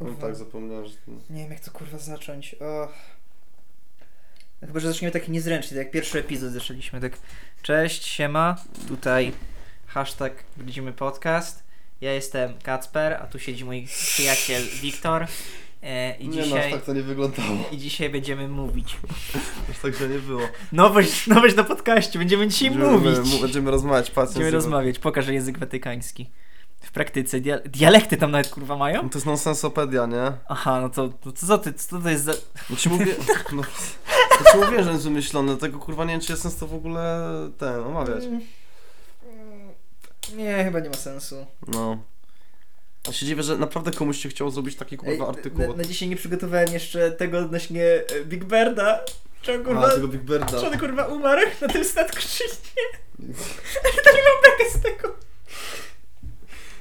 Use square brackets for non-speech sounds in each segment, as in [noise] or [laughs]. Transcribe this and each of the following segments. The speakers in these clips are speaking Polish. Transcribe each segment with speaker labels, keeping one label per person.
Speaker 1: No
Speaker 2: Kurwa.
Speaker 1: tak, zapomniałem, że... ten-
Speaker 2: Nie wiem, jak to kurwa zacząć. Och. No Chyba, że zaczniemy taki niezręcznie, tak jak pierwszy epizod zaczęliśmy, tak cześć, siema, tutaj hashtag Widzimy Podcast. Ja jestem Kacper, a tu siedzi mój przyjaciel Wiktor e, i,
Speaker 1: nie no, aż
Speaker 2: dzisiaj,
Speaker 1: tak to nie wyglądało.
Speaker 2: i dzisiaj będziemy mówić.
Speaker 1: [laughs] Aż tak, że nie
Speaker 2: [laughs]
Speaker 1: było.
Speaker 2: Nowość, nowość na podcaście, będziemy dzisiaj mówić.
Speaker 1: mu- będziemy rozmawiać, patrz.
Speaker 2: Będziemy rozmawiać, pokażę język watykański. W praktyce, dia dialekty tam nawet kurwa mają?
Speaker 1: No to jest nonsensopedia, nie?
Speaker 2: Aha, no to, to co ty, co to jest za...
Speaker 1: No ci mówię, [laughs] no, no ci mówię, że jest wymyślone, tego kurwa nie wiem, czy jest sens to w ogóle ten, omawiać.
Speaker 2: Mm. Mm. Nie, chyba nie ma sensu.
Speaker 1: No. Ja się dziwię, że naprawdę komuś się chciało zrobić taki kurwa
Speaker 2: Ej,
Speaker 1: artykuł
Speaker 2: na,
Speaker 1: od...
Speaker 2: na dzisiaj nie przygotowałem jeszcze tego odnośnie e, Big Berda. Czy on kurwa,
Speaker 1: A, tego Big Birda.
Speaker 2: czy on kurwa umarł na tym statku czy nie?
Speaker 1: [laughs]
Speaker 2: To nie mam bekę z tego.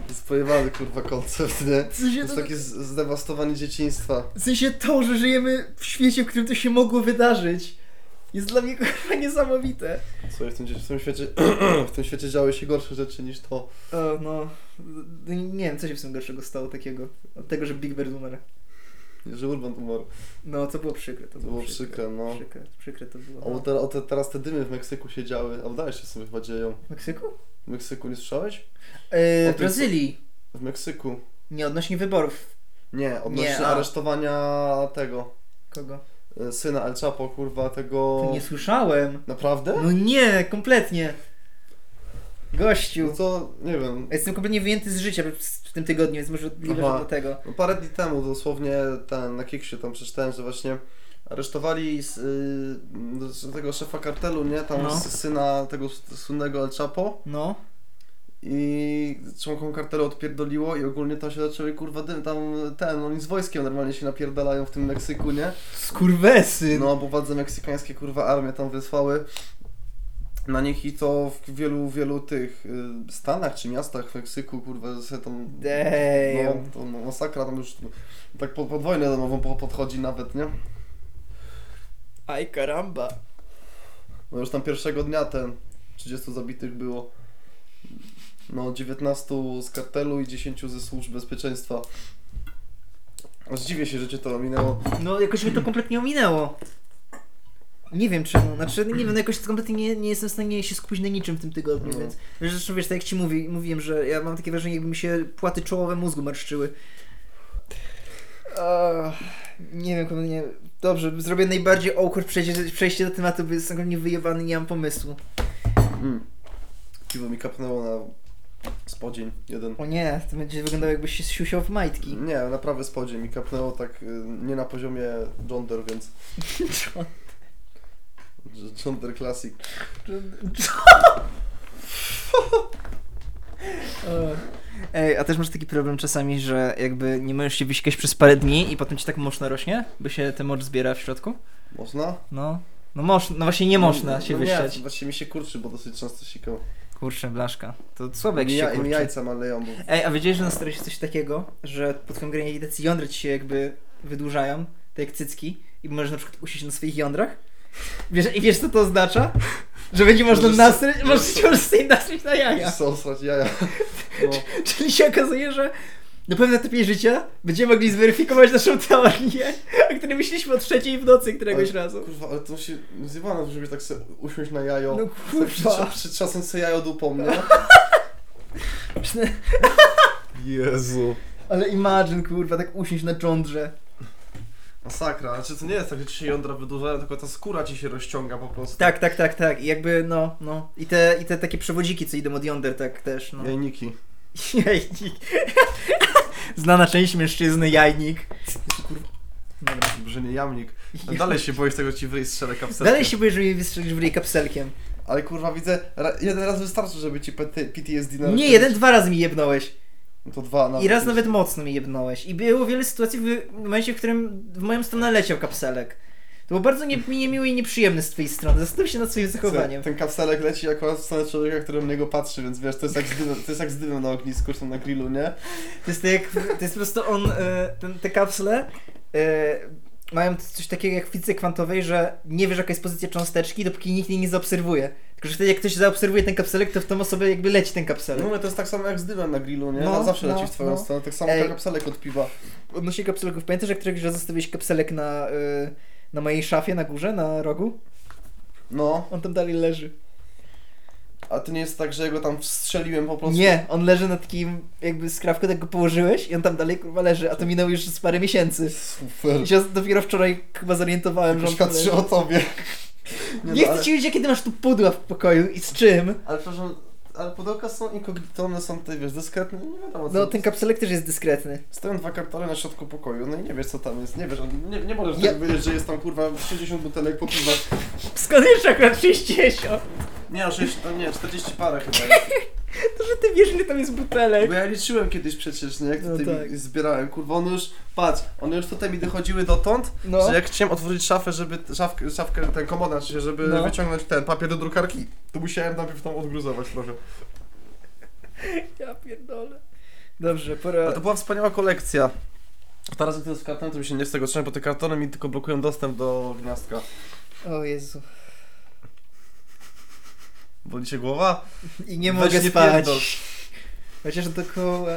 Speaker 1: Jest pojebany kurwa koncept, nie?
Speaker 2: W sensie,
Speaker 1: Jest
Speaker 2: to,
Speaker 1: takie z- zdewastowanie dzieciństwa.
Speaker 2: w sensie to, że żyjemy w świecie, w którym to się mogło wydarzyć, jest dla mnie kurwa niesamowite.
Speaker 1: Słuchaj, w tym, dzie- w tym świecie, [clears throat] w tym świecie działy się gorsze rzeczy niż to.
Speaker 2: O, no. Nie wiem, co się w tym gorszego stało takiego. Od tego, że Big Bird umarł.
Speaker 1: Że Urban umarł.
Speaker 2: No, to było przykre. To,
Speaker 1: To było przykre, no.
Speaker 2: Przykre, przykre to było.
Speaker 1: O,
Speaker 2: No.
Speaker 1: te, o te, teraz te dymy w Meksyku się działy, a wdałeś się sobie chyba dzieją.
Speaker 2: W Meksyku?
Speaker 1: W Meksyku nie słyszałeś?
Speaker 2: Yy,
Speaker 1: O
Speaker 2: w
Speaker 1: tym-
Speaker 2: Brazylii.
Speaker 1: W Meksyku.
Speaker 2: Nie, odnośnie wyborów.
Speaker 1: Nie, odnośnie
Speaker 2: Nie, a-
Speaker 1: aresztowania tego
Speaker 2: Kogo?
Speaker 1: y, syna El Chapo, kurwa, tego...
Speaker 2: To nie słyszałem.
Speaker 1: Naprawdę?
Speaker 2: No nie, kompletnie.
Speaker 1: No
Speaker 2: Gościu.
Speaker 1: to, nie wiem,
Speaker 2: Ja Jestem kompletnie wyjęty z życia w tym tygodniu, więc może odliczę
Speaker 1: Aha.
Speaker 2: do tego.
Speaker 1: No Parę dni temu dosłownie ten, na Kiksie tam przeczytałem, że właśnie aresztowali z, y, z tego szefa kartelu, nie? Tam
Speaker 2: No.
Speaker 1: s- syna tego s- słynnego El Chapo
Speaker 2: No.
Speaker 1: i członkom kartelu odpierdoliło i ogólnie tam się zaczęły kurwa dym, tam ten, oni z wojskiem normalnie się napierdalają w tym Meksyku, nie?
Speaker 2: Skurwesy.
Speaker 1: No, bo władze meksykańskie kurwa armię tam wysłały na nich i to w wielu, wielu tych y, stanach czy miastach w Meksyku, kurwa, że tam no,
Speaker 2: Damn.
Speaker 1: to ma- masakra tam już tak po- podwójnie domową po- podchodzi nawet, nie?
Speaker 2: Aj karamba.
Speaker 1: No już tam pierwszego dnia ten 30 zabitych było. No 19 z kartelu i 10 ze służb bezpieczeństwa. Aż dziwię się, że cię to ominęło.
Speaker 2: No jakoś mi to kompletnie ominęło. Nie wiem czemu, znaczy nie wiem, no jakoś kompletnie nie, nie jestem w stanie się skupić na niczym w tym tygodniu,
Speaker 1: No.
Speaker 2: więc zresztą wiesz, tak jak ci mówi, mówiłem, że ja mam takie wrażenie, jakby mi się płaty czołowe mózgu marszczyły. Ach, nie wiem, kompletnie, dobrze, zrobię najbardziej awkward przejście, przejście do tematu, bo jestem kompletnie wyjebany, nie mam pomysłu.
Speaker 1: Mm. Piwo mi kapnęło na spodzień jeden.
Speaker 2: O nie, to będzie wyglądało jakbyś się siusiał w [laughs] majtki.
Speaker 1: Nie, na prawy spodzień mi kapnęło tak y, nie na poziomie Jonder, więc Jonder Classic.
Speaker 2: Ej, a też masz taki problem czasami, że jakby nie możesz się wysikać przez parę dni i potem ci tak mocno rośnie, bo się ten mocz zbiera w środku?
Speaker 1: Można?
Speaker 2: No. No, mosz, no właśnie nie można się
Speaker 1: no,
Speaker 2: wyściać.
Speaker 1: Nie, właśnie mi się kurczy, bo dosyć często sikał.
Speaker 2: Kurczę, blaszka. To słabek
Speaker 1: Mi
Speaker 2: się
Speaker 1: ja, mi
Speaker 2: kurczy. [laughs]
Speaker 1: jajca maleją, bo
Speaker 2: Ej, a wiedziałeś, że na starości coś takiego, że po twoim graniu identycy jądra ci się jakby wydłużają, tak jak cycki, i możesz na przykład usiąść na swoich jądrach? Wiesz, I wiesz co to oznacza? Że będzie można
Speaker 1: Możesz-
Speaker 2: nasryć, możesz, możesz sobie nasryć na jaja.
Speaker 1: są srać
Speaker 2: [laughs]
Speaker 1: jaja. No,
Speaker 2: Czyli się okazuje, że na pewnym etapie życia będziemy mogli zweryfikować naszą teorię, [laughs] o której myśleliśmy o trzeciej w nocy któregoś
Speaker 1: ale,
Speaker 2: razu.
Speaker 1: Kurwa, ale to musi... Zjebane, żeby tak sobie usiąść na jajo.
Speaker 2: No
Speaker 1: Tak przy,
Speaker 2: kurwa.
Speaker 1: przy, czasem sobie jajo dupą,
Speaker 2: [laughs]
Speaker 1: nie? Jezu.
Speaker 2: Ale imagine, kurwa, tak usiąść na cządrze.
Speaker 1: Masakra. Znaczy to nie jest tak, że ci się jądra wydłużają, tylko ta skóra ci się rozciąga po prostu.
Speaker 2: Tak, tak, tak, tak. I jakby, no, no. I te, i te takie przewodziki, co idą od yonder, tak też, no.
Speaker 1: Jajniki.
Speaker 2: [laughs] Jajnik. Znana część mężczyzny, jajnik. Kurwa. Dobra.
Speaker 1: Dobrze, nie jamnik.
Speaker 2: [laughs]
Speaker 1: A Dalej się boisz tego, ci wyjść strzelę kapselkę.
Speaker 2: Dalej się boję, że mnie wystrzelisz w ryj kapselkiem.
Speaker 1: Ale kurwa widzę, ra- jeden raz wystarczy, żeby ci PT PTSD na No
Speaker 2: Nie, jeden, dwa razy mi jebnąłeś.
Speaker 1: To dwa nawet.
Speaker 2: I raz nawet mocno mi jebnąłeś. I było wiele sytuacji w w momencie, w którym w moją stronę leciał kapselek. To było bardzo nie, mi niemiłe i nieprzyjemne z twojej strony. Zastanów się nad swoim zachowaniem.
Speaker 1: Ten kapselek leci akurat w stronę człowieka, który na niego patrzy, więc wiesz, to jest jak z dymem, to jest jak z dymem na ognisku, czy tam na grillu, nie?
Speaker 2: To jest tak jak, to jest po prostu on, e, ten, te kapsle e, mają coś takiego jak w fizyce kwantowej, że nie wiesz jaka jest pozycja cząsteczki, dopóki nikt jej nie zaobserwuje. Tylko, że wtedy jak ktoś zaobserwuje ten kapselek, to w tą osobę jakby leci ten kapselek.
Speaker 1: No ale to jest tak samo jak z dymem na grillu, nie?
Speaker 2: No,
Speaker 1: No, zawsze
Speaker 2: no,
Speaker 1: leci w twoją
Speaker 2: no.
Speaker 1: stronę, tak samo
Speaker 2: Ej.
Speaker 1: jak kapselek od piwa.
Speaker 2: Odnośnie kapseleków, pamiętasz jak któregoś raz zostawiłeś kapselek na, y, na mojej szafie, na górze, na rogu?
Speaker 1: No,
Speaker 2: On tam dalej leży.
Speaker 1: a to nie jest tak, że ja go tam wstrzeliłem po prostu.
Speaker 2: Nie, on leży na takim jakby skrawku, tak go położyłeś i on tam dalej kurwa leży,
Speaker 1: Tak.
Speaker 2: a to minęło już z parę miesięcy.
Speaker 1: Super.
Speaker 2: I się dopiero wczoraj chyba zorientowałem, że on
Speaker 1: Tylko
Speaker 2: tam leży.
Speaker 1: trzy o tobie.
Speaker 2: Nie
Speaker 1: no,
Speaker 2: chcę ci wiedzieć, kiedy masz tu pudła w pokoju i z czym. No,
Speaker 1: Ale przepraszam, ale pudełka są inkognito, one są te, wiesz, dyskretne, nie wiadomo co.
Speaker 2: No ten kapselek też jest dyskretny.
Speaker 1: Stoją dwa kartony na środku pokoju, no i nie wiesz co tam jest, nie wiesz, nie, nie możesz
Speaker 2: Ja-
Speaker 1: tak wiedzieć, że jest tam kurwa 60 butelek po piwach.
Speaker 2: Skąd jeszcze akurat 60?
Speaker 1: Nie, o 60, nie, 40 parę chyba
Speaker 2: [laughs]
Speaker 1: jest.
Speaker 2: To, że ty wiesz, ile tam jest butelek.
Speaker 1: Bo ja liczyłem kiedyś przecież, nie, jak
Speaker 2: No
Speaker 1: tutaj
Speaker 2: tak.
Speaker 1: mi zbierałem, kurwa, one już, patrz, one już tutaj mi dochodziły dotąd,
Speaker 2: No.
Speaker 1: że jak chciałem otworzyć szafę, żeby, szafkę, szafkę ten komoda, znaczy się, żeby
Speaker 2: No.
Speaker 1: wyciągnąć ten papier do drukarki, to musiałem najpierw tam odgruzować trochę.
Speaker 2: Ja pierdolę. Dobrze, pora...
Speaker 1: Ale to była wspaniała kolekcja. Teraz jak to jest karton, to mi się nie z tego trzymać, bo te kartony mi tylko blokują dostęp do gniazdka.
Speaker 2: O Jezu.
Speaker 1: Boli się głowa?
Speaker 2: I nie
Speaker 1: Weź
Speaker 2: mogę
Speaker 1: nie
Speaker 2: spać.
Speaker 1: pierdol.
Speaker 2: Chociaż dookoła...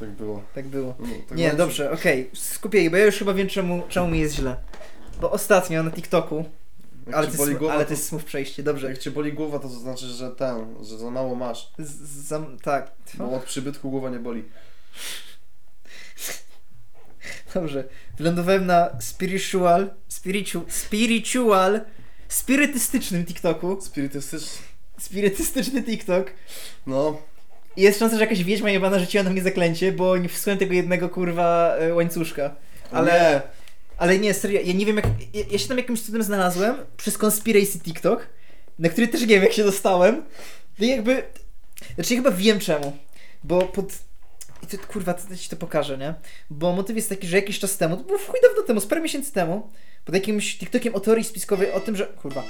Speaker 1: Tak było.
Speaker 2: Tak było.
Speaker 1: No, tak
Speaker 2: Nie,
Speaker 1: bardzo-
Speaker 2: dobrze, okej. Skupię, bo ja już chyba wiem, czemu, czemu mi jest źle. Bo ostatnio na TikToku...
Speaker 1: Jak
Speaker 2: Ale
Speaker 1: cię
Speaker 2: to,
Speaker 1: boli
Speaker 2: jest,
Speaker 1: głowa,
Speaker 2: ale
Speaker 1: to,
Speaker 2: to jest smów przejście, dobrze.
Speaker 1: Jak cię boli głowa, to znaczy, że ten, że za mało masz.
Speaker 2: Z, z, zam- tak. [laughs]
Speaker 1: Bo od przybytku głowa nie boli.
Speaker 2: Dobrze. Wylądowałem na spiritual, spiritu, spiritual, spirytystycznym TikToku.
Speaker 1: Spirytystyczny.
Speaker 2: Spirytystyczny TikTok.
Speaker 1: No,
Speaker 2: I jest szansa, że jakaś wiedźma jebana rzuciła na mnie zaklęcie, bo nie wsłem tego jednego kurwa e, łańcuszka. Ale,
Speaker 1: ale.
Speaker 2: ale nie, serio, ja nie wiem jak, ja, ja się tam jakimś cudem znalazłem przez Conspiracy TikTok, na który też nie wiem jak się dostałem. No i jakby, znaczy ja chyba wiem czemu, bo pod... I to, kurwa, to, to ci to pokażę, nie? Bo motyw jest taki, że jakiś czas temu, to było w chuj dawno temu, z parę miesięcy temu, pod jakimś TikTokiem o teorii spiskowej o tym, że... Kurwa.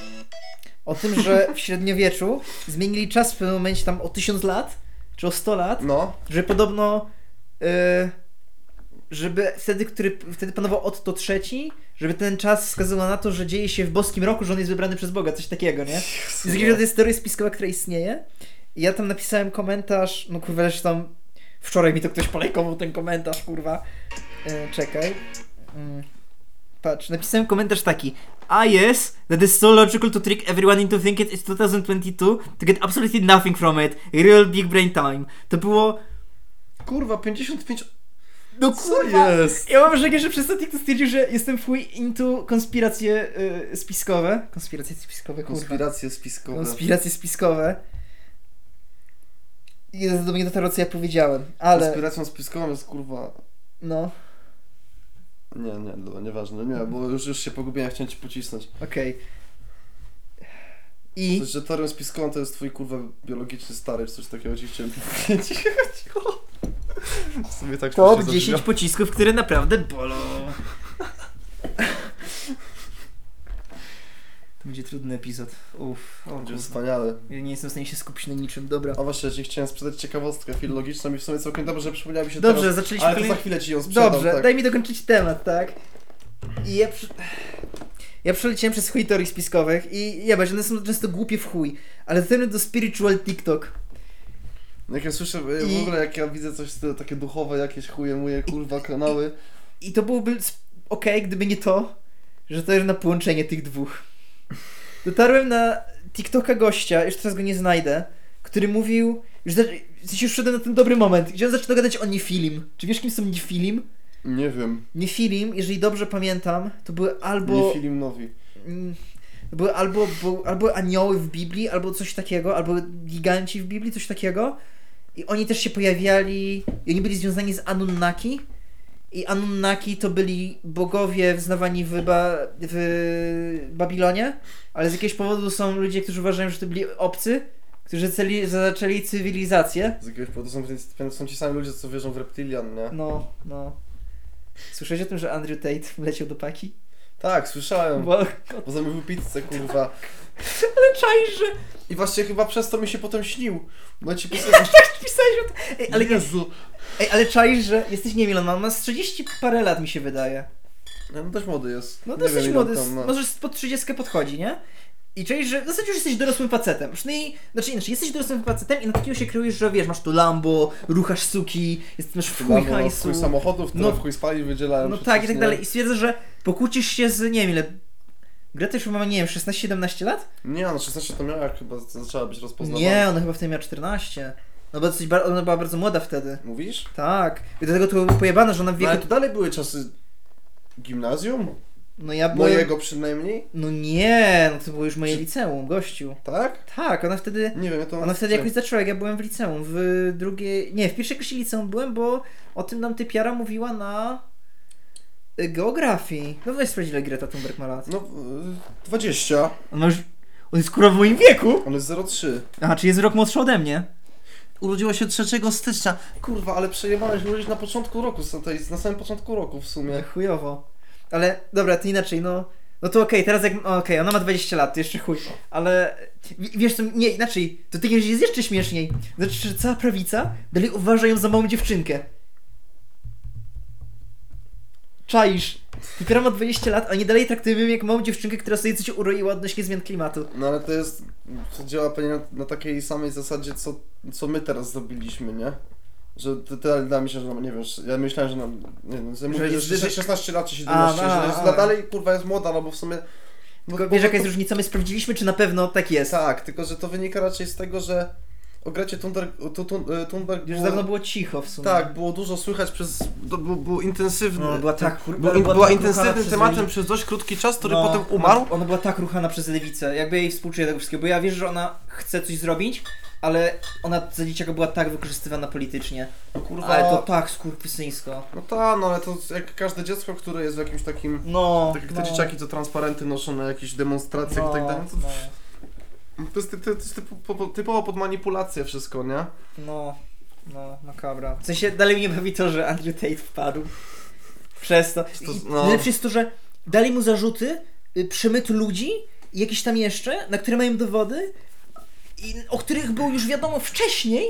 Speaker 2: O tym, że w średniowieczu zmienili czas w pewnym momencie tam o 1000 lat, czy o 100 lat,
Speaker 1: No,
Speaker 2: że podobno y, żeby wtedy, który wtedy panował Otto III, żeby ten czas wskazywał na to, że dzieje się w boskim roku, że on jest wybrany przez Boga, coś takiego, nie? Z jakiejś to jest teoria spiskowa, która istnieje. I ja tam napisałem komentarz, no kurwa, zresztą tam wczoraj mi to ktoś polejkował ten komentarz, kurwa. E, czekaj. Mm. Patrz, napisałem komentarz taki. Ah yes, that is so logical to trick everyone into thinking it's 2022 to get absolutely nothing from it. Real big brain time. To było...
Speaker 1: kurwa, 55.
Speaker 2: No
Speaker 1: Co
Speaker 2: kurwa!
Speaker 1: jest?
Speaker 2: Ja mam wrażenie, że przez to TikTok stwierdził, że jestem full into konspiracje y, spiskowe. Konspiracje spiskowe, kurwa.
Speaker 1: Konspiracje spiskowe.
Speaker 2: Konspiracje spiskowe. I do mnie dotarło, co ja powiedziałem, ale
Speaker 1: Konspiracją spiskową jest kurwa.
Speaker 2: no,
Speaker 1: Nie, nie, dobra, nieważne, nie, bo już, już się pogubiłem, chciałem ci pocisnąć.
Speaker 2: okej. I
Speaker 1: Coś, że teorią spiskową to jest twój kurwa biologiczny stary, czy coś takiego ci
Speaker 2: [laughs]
Speaker 1: chciałem [laughs] powiedzieć. Sobie tak
Speaker 2: top
Speaker 1: się
Speaker 2: 10 pocisków, które naprawdę bolą. To będzie trudny epizod. Uff, o
Speaker 1: Będzie
Speaker 2: kurwa.
Speaker 1: wspaniale.
Speaker 2: Ja nie jestem w stanie się skupić na niczym, dobra.
Speaker 1: A właśnie, ja ci chciałem sprzedać ciekawostkę filologiczną i w sumie całkiem dobrze, że przypomniała mi się
Speaker 2: Dobrze,
Speaker 1: teraz.
Speaker 2: zaczęliśmy
Speaker 1: Ale to
Speaker 2: kolejny-
Speaker 1: za chwilę ci ją sprzedam,
Speaker 2: Dobrze,
Speaker 1: tak.
Speaker 2: daj mi dokończyć temat, tak? I ja, przy... ja przeleciałem przez chuj teorii spiskowych i jebać, one są często głupie w chuj, ale ten do spiritual TikTok.
Speaker 1: Jak ja słyszę, e,
Speaker 2: I-
Speaker 1: w ogóle jak ja widzę coś stylu, takie duchowe, jakieś chuje moje, kurwa, kanały.
Speaker 2: I to byłoby sp- okej, gdyby nie to, że to jest na połączenie tych dwóch. Dotarłem na TikToka gościa, już teraz go nie znajdę, który mówił, już, za- w sensie już wszedłem na ten dobry moment, gdzie on zaczął gadać o Nefilim. Czy wiesz kim są Nefilim?
Speaker 1: Nie wiem,
Speaker 2: Nefilim, jeżeli dobrze pamiętam, to były albo...
Speaker 1: nie film nowi.
Speaker 2: Mm, Były albo, był, albo anioły w Biblii, albo coś takiego, albo giganci w Biblii, coś takiego. I oni też się pojawiali, i oni byli związani z Anunnaki. I Anunnaki to byli bogowie wznawani w, ba, w Babilonie, ale z jakiegoś powodu są ludzie, którzy uważają, że to byli obcy, którzy celi, zaczęli cywilizację.
Speaker 1: Z jakiegoś powodu są, są- są ci sami ludzie, co wierzą w reptilian, nie?
Speaker 2: No, no. Słyszałeś o tym, że Andrew Tate wleciał do paki?
Speaker 1: Tak, słyszałem.
Speaker 2: Bo [laughs]
Speaker 1: Bo zamówił pizzę, kurwa.
Speaker 2: czaisz, że
Speaker 1: I właśnie chyba przez to mi się potem śnił. No ja ci pisałem,
Speaker 2: [laughs] Tak, pisałeś o tym. Ej, ale nie,
Speaker 1: Jezu.
Speaker 2: Ej, ale czaisz, że jesteś nie wiem, ile on ma, on ma z 30 parę lat mi się wydaje.
Speaker 1: No dość młody jest.
Speaker 2: No
Speaker 1: Nie
Speaker 2: dosyć
Speaker 1: wiem, ile
Speaker 2: młody,
Speaker 1: on tam ma.
Speaker 2: może z- pod 30 podchodzi, nie? I czujesz, że w zasadzie już jesteś dorosłym facetem. Przynajmniej, znaczy inaczej, jesteś dorosłym facetem i na takiego się kreujesz, że wiesz, masz tu Lambo, ruchasz suki, jest, masz w
Speaker 1: Albo
Speaker 2: chuj
Speaker 1: w chuj
Speaker 2: hajsu.
Speaker 1: samochodów, które
Speaker 2: No.
Speaker 1: w chuj spali wydzielałem.
Speaker 2: No
Speaker 1: przecież,
Speaker 2: tak i tak
Speaker 1: nie?
Speaker 2: dalej. I stwierdzasz, że pokłócisz się z, nie wiem ile, Greta już ma, nie wiem, 16-17 lat?
Speaker 1: Nie, no 16 to miała jak chyba z- zaczęła być rozpoznawana.
Speaker 2: Nie, ona chyba wtedy miała 14. No bo dosyć, bar- ona była bardzo młoda wtedy.
Speaker 1: Mówisz?
Speaker 2: Tak. I dlatego to było pojebane, że ona w
Speaker 1: No,
Speaker 2: wieku...
Speaker 1: ale to dalej były czasy gimnazjum?
Speaker 2: No ja byłem...
Speaker 1: Mojego przynajmniej?
Speaker 2: No nie, no to było już moje liceum, gościu.
Speaker 1: Tak?
Speaker 2: Tak, ona wtedy...
Speaker 1: Nie wiem, ja to...
Speaker 2: Ona wtedy jakoś zaczęła, jak ja byłem w liceum, w drugiej... Nie, w pierwszej klasie liceum byłem, bo o tym nam typiara mówiła na y, geografii. No weź sprawdź, ile Greta Thunberg ma lat.
Speaker 1: No, y, 20.
Speaker 2: Ona już... On jest kurwa w moim wieku!
Speaker 1: On jest 03.
Speaker 2: Aha, czy jest rok młodszy ode mnie?
Speaker 1: Urodziła się 3 stycznia. Kurwa, ale przejebałeś urodzić na początku roku, s- to jest na samym początku roku w
Speaker 2: Nie,
Speaker 1: sumie.
Speaker 2: E, chujowo. Ale, dobra, to inaczej, no... No to okej, teraz jak... Okej, ona ma 20 lat, to jeszcze chuj. Ale... w- Wiesz co, nie, inaczej. To ty jest jeszcze śmieszniej. Znaczy, że cała prawica dalej uważa ją za małą dziewczynkę. Czaisz. Dopiero ma 20 lat, a nie dalej traktujemy ją jak małą dziewczynkę, która sobie coś uroiła odnośnie zmian klimatu.
Speaker 1: No ale to jest, to działa pewnie na, na takiej samej zasadzie, co, co my teraz zrobiliśmy, nie? Że ty, ty dalej mi się, że nam- nie wiesz, ja myślałem, że nam, nie wiem, że mówię,
Speaker 2: jest
Speaker 1: że
Speaker 2: wyżej-
Speaker 1: 16 lat czy 17,
Speaker 2: A,
Speaker 1: że
Speaker 2: a,
Speaker 1: jest,
Speaker 2: a.
Speaker 1: na dalej kurwa jest młoda, no bo w sumie... Bo,
Speaker 2: Tylko
Speaker 1: bo-
Speaker 2: wiesz, jaka jest różnica? My sprawdziliśmy, czy na pewno tak jest.
Speaker 1: Tak, tylko że to wynika raczej z tego, że o Grecie Thunberg, tu, tu, e, Thunberg
Speaker 2: Już
Speaker 1: było-
Speaker 2: dawno było cicho w sumie.
Speaker 1: Tak, było dużo słychać przez. To było, było intensywne.
Speaker 2: No, była tak, kurwa,
Speaker 1: był,
Speaker 2: ale
Speaker 1: była,
Speaker 2: była tak ruchana
Speaker 1: intensywnym
Speaker 2: przez
Speaker 1: tematem
Speaker 2: ludzi.
Speaker 1: przez dość krótki czas, który
Speaker 2: No,
Speaker 1: potem umarł.
Speaker 2: Ona, ona była tak ruchana przez lewicę, jakby jej współczuję tego wszystkiego, bo ja wiem, że ona chce coś zrobić, ale ona za dzieciaka była tak wykorzystywana politycznie.
Speaker 1: Kurwa.
Speaker 2: Ale to tak skurwysyńsko.
Speaker 1: No tak, no ale to jak każde dziecko, które jest w jakimś takim.
Speaker 2: No,
Speaker 1: Tak jak te
Speaker 2: no,
Speaker 1: dzieciaki, to transparenty noszą na jakichś demonstracjach
Speaker 2: no,
Speaker 1: i tak dalej. To,
Speaker 2: No,
Speaker 1: to jest, ty, ty, to jest typu, po, po, typowo pod manipulację wszystko, nie?
Speaker 2: no, no, makabra. W sensie dalej mnie bawi to, że Andrew Tate wpadł. Przez to.
Speaker 1: To-
Speaker 2: I
Speaker 1: no.
Speaker 2: Najlepsze jest to, że dali mu zarzuty, y, przemyt ludzi, i jakieś tam jeszcze, na które mają dowody, i, o których było już wiadomo wcześniej,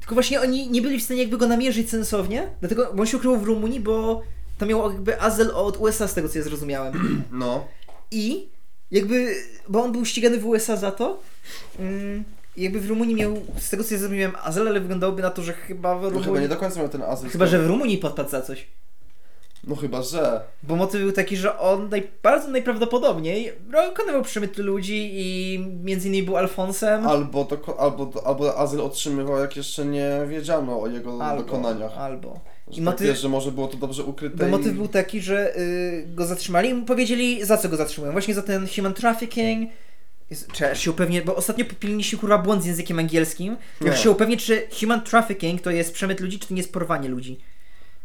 Speaker 2: tylko właśnie oni nie byli w stanie jakby go namierzyć sensownie, dlatego, bo on się ukrył w Rumunii, bo tam miał jakby azyl od USA, z tego co ja zrozumiałem.
Speaker 1: No.
Speaker 2: I jakby, bo on był ścigany w USA za to, mm, i jakby w Rumunii miał, z tego co ja zrozumiałem, azyl, ale wyglądałoby na to, że chyba w
Speaker 1: no
Speaker 2: Rumunii...
Speaker 1: chyba nie do końca miał ten azyl.
Speaker 2: chyba że w Rumunii podpadł za coś.
Speaker 1: No chyba, że.
Speaker 2: Bo motyw był taki, że on naj, bardzo najprawdopodobniej no, dokonywał przemytu ludzi i między innymi był Alfonsem.
Speaker 1: Albo, doko- albo, albo azyl otrzymywał, jak jeszcze nie wiedziano o jego dokonaniach.
Speaker 2: Albo.
Speaker 1: Że,
Speaker 2: I
Speaker 1: tak
Speaker 2: motyw,
Speaker 1: wiesz, że może było to dobrze ukryte.
Speaker 2: bo
Speaker 1: i-
Speaker 2: motyw był taki, że y, go zatrzymali i mu powiedzieli, za co go zatrzymują. Właśnie za ten human trafficking. Jest- Trzeba się upewnić, bo ostatnio popilni się kurwa błąd z językiem angielskim. Jak
Speaker 1: No.
Speaker 2: się upewnić, czy human trafficking to jest przemyt ludzi, czy to nie jest porwanie ludzi.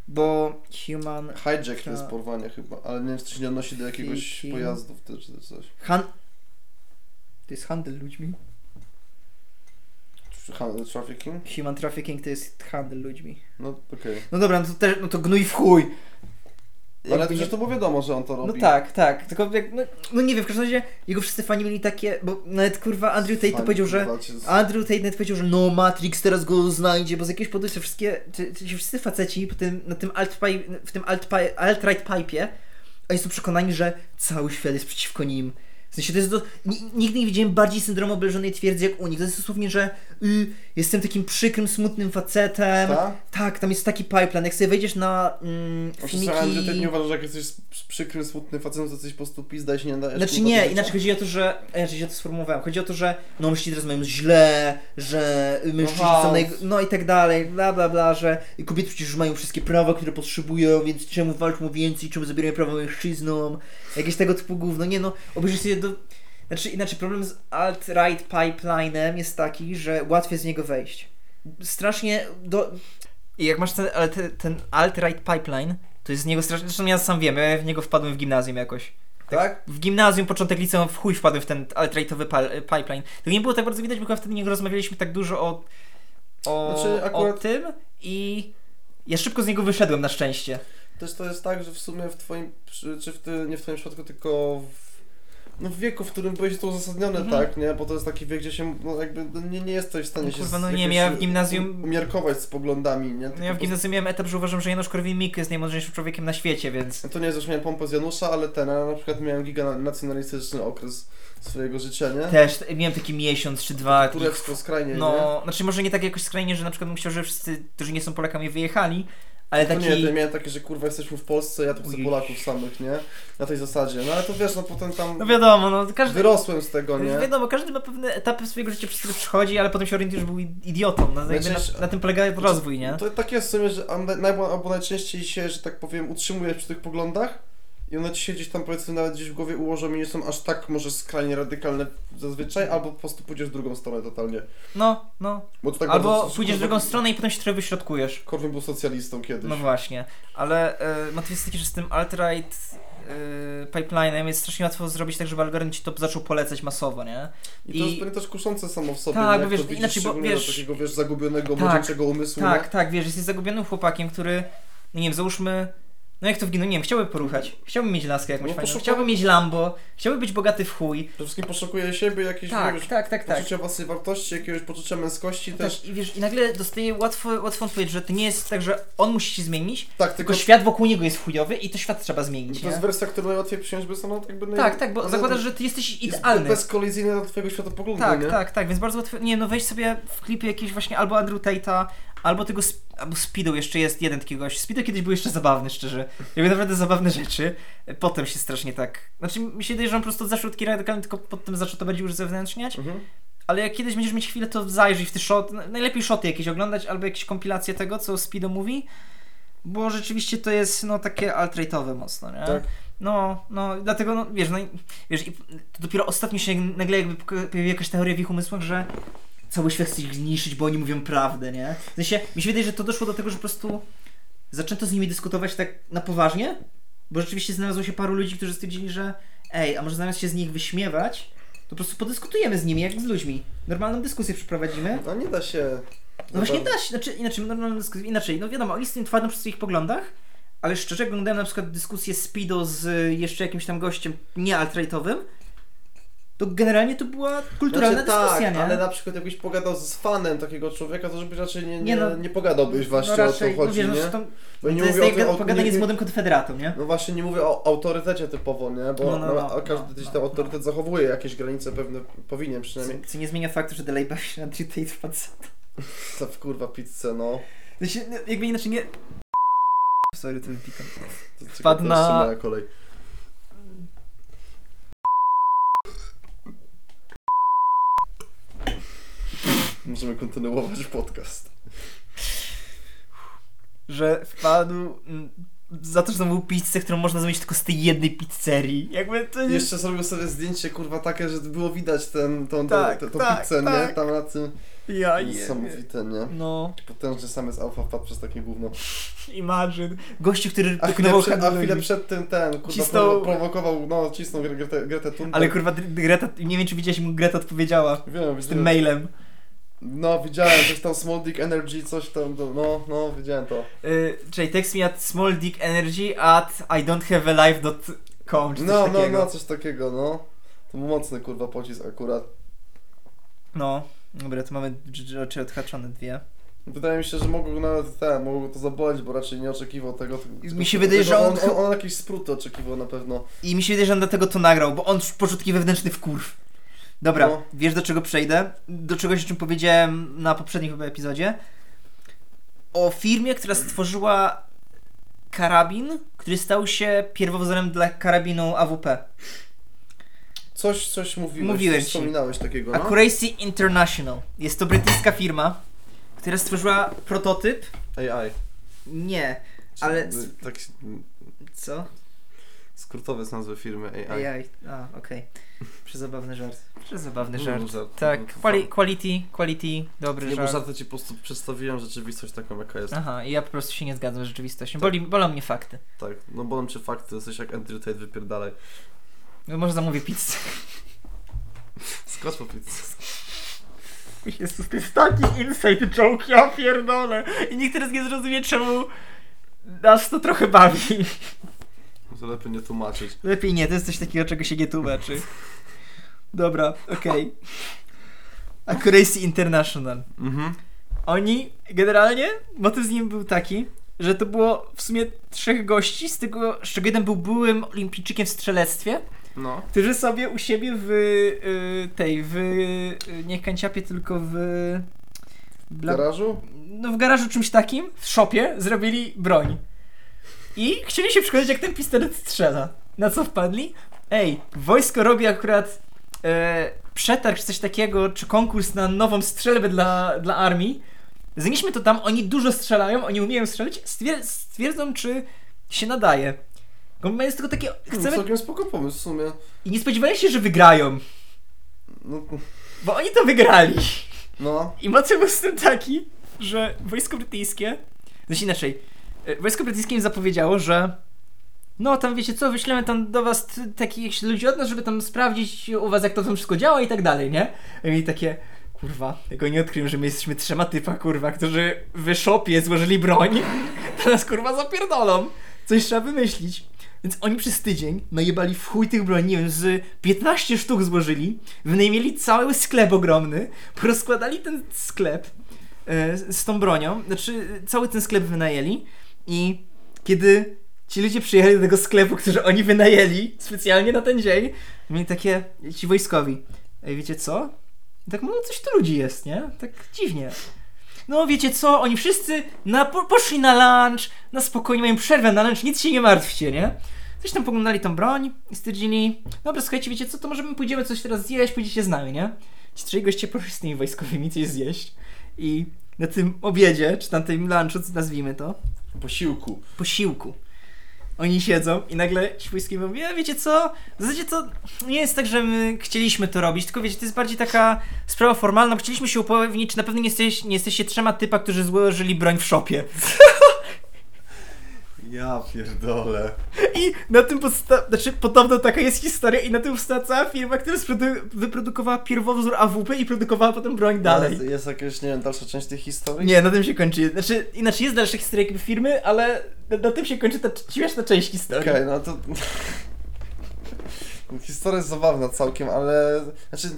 Speaker 2: Bo human
Speaker 1: Hijack to jest
Speaker 2: Tak.
Speaker 1: porwanie chyba, ale nie wiem, czy to się nie odnosi do jakiegoś
Speaker 2: Fiki.
Speaker 1: pojazdu wtedy, czy coś.
Speaker 2: Han... To jest handel ludźmi?
Speaker 1: Czy handel trafficking?
Speaker 2: Human trafficking to jest handel ludźmi.
Speaker 1: No okej.
Speaker 2: No dobra, no to, też, no to gnój w chuj.
Speaker 1: Ale
Speaker 2: Jakby nie-
Speaker 1: przecież to było wiadomo, że on to robi.
Speaker 2: No tak, tak. Tylko jak, no, no nie wiem, w każdym razie jego wszyscy fani mieli takie, bo nawet kurwa Andrew Tate to
Speaker 1: Fajnie,
Speaker 2: powiedział, że
Speaker 1: znaczy, z-
Speaker 2: Andrew Tate nawet powiedział, że no Matrix teraz go znajdzie, bo z jakiegoś powodu się wszystkie, czy, czy, ci wszyscy faceci po tym, na tym alt w tym alt alt-right pipe, oni są przekonani, że cały świat jest przeciwko nim. W sensie to jest do... ni- Nigdy nie widziałem bardziej syndromu obleżonej twierdzy jak u nich. To jest dosłownie, że y, jestem takim przykrym, smutnym facetem.
Speaker 1: Tak?
Speaker 2: Tak, tam jest taki pipeline. Jak sobie wejdziesz na mm,
Speaker 1: Oczywiście,
Speaker 2: filmiki...
Speaker 1: Andrew, ty nie uważasz, że jak jesteś przy- przykrym, smutny facetem, to coś po prostu pizda i się nie dajesz.
Speaker 2: Znaczy
Speaker 1: kurwa, do
Speaker 2: nie,
Speaker 1: życia.
Speaker 2: inaczej chodzi o to, że. a Ja się to sformułowałem. Chodzi o to, że no mężczyźni teraz mają źle, że mężczyźni
Speaker 1: Aha.
Speaker 2: są naj... no i tak dalej, bla bla bla, że kobiety przecież już mają wszystkie prawa, które potrzebują, więc czemu walczą więcej, czemu zabierają prawa mężczyznom, jakieś tego typu gówno. Nie no, obejrzyj sobie do. Znaczy inaczej, problem z alt-right pipelinem jest taki, że łatwiej z niego wejść. Strasznie do. I jak masz ten, ale te- ten alt-right pipeline, to jest z niego strasznie. Zresztą ja sam wiem, ja w niego wpadłem w gimnazjum jakoś
Speaker 1: Tak?
Speaker 2: w gimnazjum, początek liceum, w chuj wpadłem w ten alt-rightowy pal- pipeline. To nie było tak bardzo widać, bo chyba wtedy nie rozmawialiśmy tak dużo o, o,
Speaker 1: Znaczy,
Speaker 2: o
Speaker 1: akurat-
Speaker 2: tym i ja szybko z niego wyszedłem na szczęście.
Speaker 1: Też to jest tak, że w sumie w twoim, przy- czy w ty, nie w twoim przypadku, tylko w no, w wieku, w którym byłeś to uzasadnione,
Speaker 2: Mhm.
Speaker 1: tak, nie? Bo to jest taki wiek, gdzie się no, jakby no, nie, nie jesteś w stanie
Speaker 2: No
Speaker 1: się
Speaker 2: kurwa,
Speaker 1: z-
Speaker 2: no nie
Speaker 1: jakoś
Speaker 2: wiem, ja w gimnazjum-
Speaker 1: u- umiarkować z poglądami, nie? Tylko
Speaker 2: No ja w
Speaker 1: po prostu-
Speaker 2: gimnazjum miałem etap, że uważam, że Janusz Korwin-Mikke jest najmądrzejszym człowiekiem na świecie, więc...
Speaker 1: To nie jest, że miałem pompę z Janusza, ale ten, a na przykład miałem giganacjonalistyczny okres swojego życia, nie?
Speaker 2: Też t- miałem taki miesiąc czy dwa. takich-
Speaker 1: Turecko skrajnie, nie?
Speaker 2: No, znaczy może nie tak jakoś skrajnie, że na przykład bym chciał, że wszyscy, którzy nie są Polakami wyjechali, ale
Speaker 1: No To
Speaker 2: taki...
Speaker 1: Nie, to ja miałem takie, że kurwa jesteśmy w Polsce, ja tu chcę
Speaker 2: Ujej.
Speaker 1: Polaków samych, nie? Na tej zasadzie. No ale to wiesz, no potem tam
Speaker 2: No wiadomo, no każdy...
Speaker 1: wyrosłem z tego, nie?
Speaker 2: Znaczy, Wiadomo, każdy ma pewne etapy swojego życia, przez które przychodzi, ale potem się orientuje, że był i- idiotą. No, jakby na,
Speaker 1: Najczęściej-
Speaker 2: na tym polega rozwój, nie?
Speaker 1: No Znaczy, To tak jest w sumie, że a naj- naj- albo najczęściej się, że tak powiem, utrzymujesz przy tych poglądach i one ci się gdzieś tam powiedzmy nawet gdzieś w głowie ułożą i nie są aż tak może skrajnie radykalne zazwyczaj, albo po prostu pójdziesz w drugą stronę totalnie.
Speaker 2: No, no.
Speaker 1: Bo to tak
Speaker 2: Albo
Speaker 1: bardzo-
Speaker 2: pójdziesz w
Speaker 1: kurwa,
Speaker 2: drugą stronę i potem się trochę wyśrodkujesz.
Speaker 1: Korwin był socjalistą kiedyś.
Speaker 2: No właśnie, ale y, motyw jest taki, że z tym alt-right y, pipeline'em jest strasznie łatwo zrobić tak, żeby algorytm ci to zaczął polecać masowo, nie?
Speaker 1: I to
Speaker 2: i-
Speaker 1: jest pewnie też kuszące samo w sobie,
Speaker 2: Tak,
Speaker 1: nie?
Speaker 2: bo
Speaker 1: Jak
Speaker 2: wiesz,
Speaker 1: to widzisz,
Speaker 2: inaczej, bo
Speaker 1: szczególnie dla
Speaker 2: wiesz-
Speaker 1: takiego, wiesz, zagubionego,
Speaker 2: Tak,
Speaker 1: młodzieńczego umysłu,
Speaker 2: Tak,
Speaker 1: nie?
Speaker 2: tak, wiesz, jesteś zagubionym chłopakiem, który, no nie wiem, załóżmy, no jak to w no nie wiem, chciałby poruchać, chciałby mieć laskę jakąś
Speaker 1: No,
Speaker 2: fajną,
Speaker 1: poszuka-
Speaker 2: chciałby mieć Lambo, chciałby być bogaty w chuj.
Speaker 1: Przede wszystkim poszukuje siebie, jakieś,
Speaker 2: Tak,
Speaker 1: wiesz,
Speaker 2: tak, tak, tak.
Speaker 1: poczucia własnej wartości, jakiegoś poczucia męskości też.
Speaker 2: Tak, i wiesz, i nagle dostaje łatwo, łatwą odpowiedź, że to nie jest tak, że on musi się zmienić,
Speaker 1: Tak,
Speaker 2: tylko
Speaker 1: tylko
Speaker 2: świat wokół niego jest chujowy i to świat trzeba zmienić,
Speaker 1: to
Speaker 2: nie?
Speaker 1: jest wersja, którą najłatwiej przyjąć, bo jest ona jakby... naj-
Speaker 2: Tak, tak, bo
Speaker 1: ona
Speaker 2: zakładasz, że ty jesteś
Speaker 1: jest
Speaker 2: idealny.
Speaker 1: bezkolizyjna do twojego światopoglądu,
Speaker 2: Tak,
Speaker 1: nie?
Speaker 2: tak, tak, więc bardzo łatwo. Nie, no weź sobie w klipie jakieś właśnie albo Andrew Tate'a, albo tego. Sp- albo Speedo jeszcze jest jeden taki gość. Speedo kiedyś był jeszcze zabawny, szczerze. Robił naprawdę zabawne rzeczy. Potem się strasznie tak. Znaczy, mi się wydaje, że on po prostu zaczął taki radykalny, tylko potem zaczął to bardziej już zewnętrzniać.
Speaker 1: Mhm.
Speaker 2: Ale jak kiedyś będziesz mieć chwilę, to zajrzyj w te shot. Najlepiej shoty jakieś oglądać, albo jakieś kompilacje tego, co Speedo mówi. Bo rzeczywiście to jest, no, takie alt-rightowe mocno, nie?
Speaker 1: Tak.
Speaker 2: No, no, dlatego, no, wiesz, no, i- wiesz, i to dopiero ostatnio się nagle jakby poka- pojawiła jakaś teoria w ich umysłach, że cały świat chce ich zniszczyć, bo oni mówią prawdę, nie? W sensie, mi się wydaje, że to doszło do tego, że po prostu zaczęto z nimi dyskutować tak na poważnie, bo rzeczywiście znalazło się paru ludzi, którzy stwierdzili, że ej, a może zamiast się z nich wyśmiewać, to po prostu podyskutujemy z nimi, jak z ludźmi. Normalną dyskusję przeprowadzimy.
Speaker 1: No nie da się...
Speaker 2: No właśnie da się, znaczy inaczej, normalną dyskusję, inaczej, no wiadomo, oni są twardą przy swoich poglądach, ale szczerze, jak oglądałem na przykład dyskusję Speedo z y, jeszcze jakimś tam gościem nie altrightowym, to generalnie to była kulturalna
Speaker 1: Znaczy, tak,
Speaker 2: dyskusja, nie?
Speaker 1: ale na przykład jakbyś pogadał z fanem takiego człowieka, to żebyś raczej nie, nie,
Speaker 2: Nie, no.
Speaker 1: nie pogadałbyś właśnie o co chodzi,
Speaker 2: no, wiesz,
Speaker 1: nie?
Speaker 2: No, to,
Speaker 1: Bo nie
Speaker 2: to jest
Speaker 1: mówię o
Speaker 2: jak
Speaker 1: tym, o,
Speaker 2: pogadanie
Speaker 1: nie,
Speaker 2: z młodym konfederatą, nie?
Speaker 1: No właśnie, nie mówię o autorytecie typowo, nie? Bo
Speaker 2: No, no,
Speaker 1: no,
Speaker 2: no,
Speaker 1: a każdy
Speaker 2: no,
Speaker 1: gdzieś
Speaker 2: no,
Speaker 1: ten autorytet zachowuje jakieś granice pewne, powinien przynajmniej.
Speaker 2: Co, co nie zmienia faktu, że Delay bawi się na Drew Tate wpadł
Speaker 1: Co w kurwa pizzę, no.
Speaker 2: Znaczy, no, jakby inaczej nie... Sorry, tym pikam.
Speaker 1: To tylko
Speaker 2: Wpadł
Speaker 1: teraz
Speaker 2: na-
Speaker 1: się moja kolej. Możemy kontynuować podcast.
Speaker 2: Że wpadł mm, za to, że zamówił pizzę, którą można zamówić tylko z tej jednej pizzerii. Jakby to jest...
Speaker 1: Jeszcze zrobił sobie zdjęcie kurwa takie, że było widać ten, tą,
Speaker 2: Tak,
Speaker 1: tą, tą
Speaker 2: tak,
Speaker 1: pizzę, nie?
Speaker 2: tak.
Speaker 1: Tam na tym
Speaker 2: Ja jebie.
Speaker 1: niesamowite, nie?
Speaker 2: No,
Speaker 1: Potężny samec alfa wpadł przez takie gówno.
Speaker 2: imagine. Gościu, który
Speaker 1: A chwilę,
Speaker 2: dokonywał
Speaker 1: przed, a
Speaker 2: handlu
Speaker 1: chwilę
Speaker 2: ludzi.
Speaker 1: przed tym ten, kurwa,
Speaker 2: Cisnął-
Speaker 1: prowo- prowokował, no, cisnął Gre- Gretę, Gretę Thunberg.
Speaker 2: Ale kurwa, Greta, nie wiem czy widziałeś, mu Greta odpowiedziała
Speaker 1: Wiem,
Speaker 2: z tym
Speaker 1: widziałem.
Speaker 2: mailem.
Speaker 1: No, widziałem, coś tam Small Dick Energy, coś tam, no, no, widziałem to.
Speaker 2: Y, czyli text me at smalldickenergy at idon'thavaalife.com czy coś
Speaker 1: No, no,
Speaker 2: takiego.
Speaker 1: no, coś takiego, no. To był mocny, kurwa, pocisk akurat.
Speaker 2: No, dobra, to mamy dż- dż- oczy odhaczone dwie.
Speaker 1: Wydaje mi się, że mogło go nawet, tak, mogło go to zaboleć, bo raczej nie oczekiwał tego. tego-
Speaker 2: Mi się wydaje,
Speaker 1: tego-
Speaker 2: że on-
Speaker 1: On, on, on jakieś spruty oczekiwał na pewno.
Speaker 2: I mi się wydaje, że on dlatego to nagrał, bo on poczuł taki wewnętrzny wkurw. Dobra,
Speaker 1: No.
Speaker 2: wiesz do czego przejdę? Do czegoś, o czym powiedziałem na poprzednim chyba epizodzie. O firmie, która stworzyła karabin, który stał się pierwowzorem dla karabinu AWP.
Speaker 1: Coś, coś mówiłeś,
Speaker 2: Mówiłem
Speaker 1: coś
Speaker 2: ci.
Speaker 1: wspominałeś takiego, no.
Speaker 2: Accuracy International. Jest to brytyjska firma, która stworzyła prototyp.
Speaker 1: AI.
Speaker 2: Nie, ale s-
Speaker 1: Tak, się-
Speaker 2: co?
Speaker 1: skrótowe są nazwy firmy AI.
Speaker 2: AI. A, okej. Przezabawny żart. Przezabawny
Speaker 1: No,
Speaker 2: żart.
Speaker 1: żart.
Speaker 2: Tak,
Speaker 1: No, to
Speaker 2: quali- quality, quality, dobry
Speaker 1: Nie, bo
Speaker 2: żart.
Speaker 1: żarty ci po prostu przedstawiłem rzeczywistość taką, jaka jest.
Speaker 2: Aha, i ja po prostu się nie zgadzam z rzeczywistością. Boli, bolą mnie fakty.
Speaker 1: Tak, no bolą cię fakty, jesteś jak Andrew Tate, wypierdalaj.
Speaker 2: No może zamówię pizzę.
Speaker 1: Skocz po pizzy.
Speaker 2: [laughs] Jezus, to jest taki inside joke, ja pierdolę. I nikt teraz nie zrozumie, czemu nas to trochę bawi.
Speaker 1: to lepiej nie tłumaczyć.
Speaker 2: [laughs] Lepiej nie, to jest coś takiego, czego się nie tłumaczy. Dobra, okej. Accuracy International.
Speaker 1: Mhm.
Speaker 2: Oni, generalnie, motyw z nim był taki, że to było w sumie trzech gości, z tego, z czego jeden był byłym olimpijczykiem w strzelectwie,
Speaker 1: No.
Speaker 2: którzy sobie u siebie w y, tej, w y, nie kanciapie, tylko w...
Speaker 1: W
Speaker 2: Bla...
Speaker 1: garażu?
Speaker 2: No w garażu czymś takim, w szopie, zrobili broń. I chcieli się przekonać, jak ten pistolet strzela. Na co wpadli? Ej, wojsko robi akurat e, przetarg czy coś takiego, czy konkurs na nową strzelbę dla, dla armii. Znieśmy to tam, oni dużo strzelają, oni umieją strzelać, stwier- stwierdzą, czy się nadaje. Bo jest tylko takie,
Speaker 1: Chcemy...
Speaker 2: chcemy...
Speaker 1: Całkiem spoko pomysł w sumie.
Speaker 2: I nie spodziewali się, że wygrają,
Speaker 1: No,
Speaker 2: bo oni to wygrali.
Speaker 1: no.
Speaker 2: I motyw był z tym taki, że wojsko brytyjskie, znaczy inaczej, e, wojsko brytyjskie im zapowiedziało, że no tam wiecie co, wyślemy tam do was t- takich ludzi od nas, żeby tam sprawdzić u was jak to tam wszystko działa i tak dalej, nie? I mieli takie, kurwa, tego nie odkryłem, że my jesteśmy trzema typa, kurwa, którzy w szopie złożyli broń, [laughs] to nas kurwa zapierdolą, coś trzeba wymyślić. Więc oni przez tydzień najebali w chuj tych broni, nie wiem, z 15 sztuk złożyli, wynajmieli cały sklep ogromny, porozkładali ten sklep e, z z tą bronią, znaczy e, cały ten sklep wynajęli i kiedy ci ludzie przyjechali do tego sklepu, który oni wynajęli specjalnie na ten dzień, mieli takie, ci wojskowi, ej wiecie co? Tak mówią, coś tu ludzi jest, nie? Tak dziwnie. No wiecie co, oni wszyscy na, po, poszli na lunch, na spokojnie, mają przerwę na lunch, nic się nie martwcie, nie? Coś tam poglądali tą broń i stwierdzili, dobra, słuchajcie, wiecie co, to może my pójdziemy coś teraz zjeść, pójdziecie z nami, nie? Ci trzej goście poszli z tymi wojskowymi coś zjeść i na tym obiedzie, czy na tym lunchu, co nazwijmy to,
Speaker 1: Posiłku.
Speaker 2: posiłku. Oni siedzą i nagle Świski mówi, a wiecie co, w zasadzie to nie jest tak, że my chcieliśmy to robić, tylko wiecie, to jest bardziej taka sprawa formalna, bo chcieliśmy się upewnić, czy na pewno nie, jesteś, nie jesteście trzema typa, którzy złożyli broń w szopie.
Speaker 1: Ja pierdolę.
Speaker 2: I na tym podsta... Znaczy, podobno taka jest historia i na tym powstała cała firma, która sprodu- wyprodukowała pierwowzór AWP i produkowała potem broń
Speaker 1: No,
Speaker 2: dalej.
Speaker 1: Jest, jest jakaś, nie wiem, dalsza część tej historii?
Speaker 2: Nie, na tym się kończy. Znaczy, inaczej jest dalsza historia jakby firmy, ale na, na tym się kończy ta c- śmieszna część historii.
Speaker 1: Okej, no to... Historia jest zabawna całkiem, ale... Znaczy,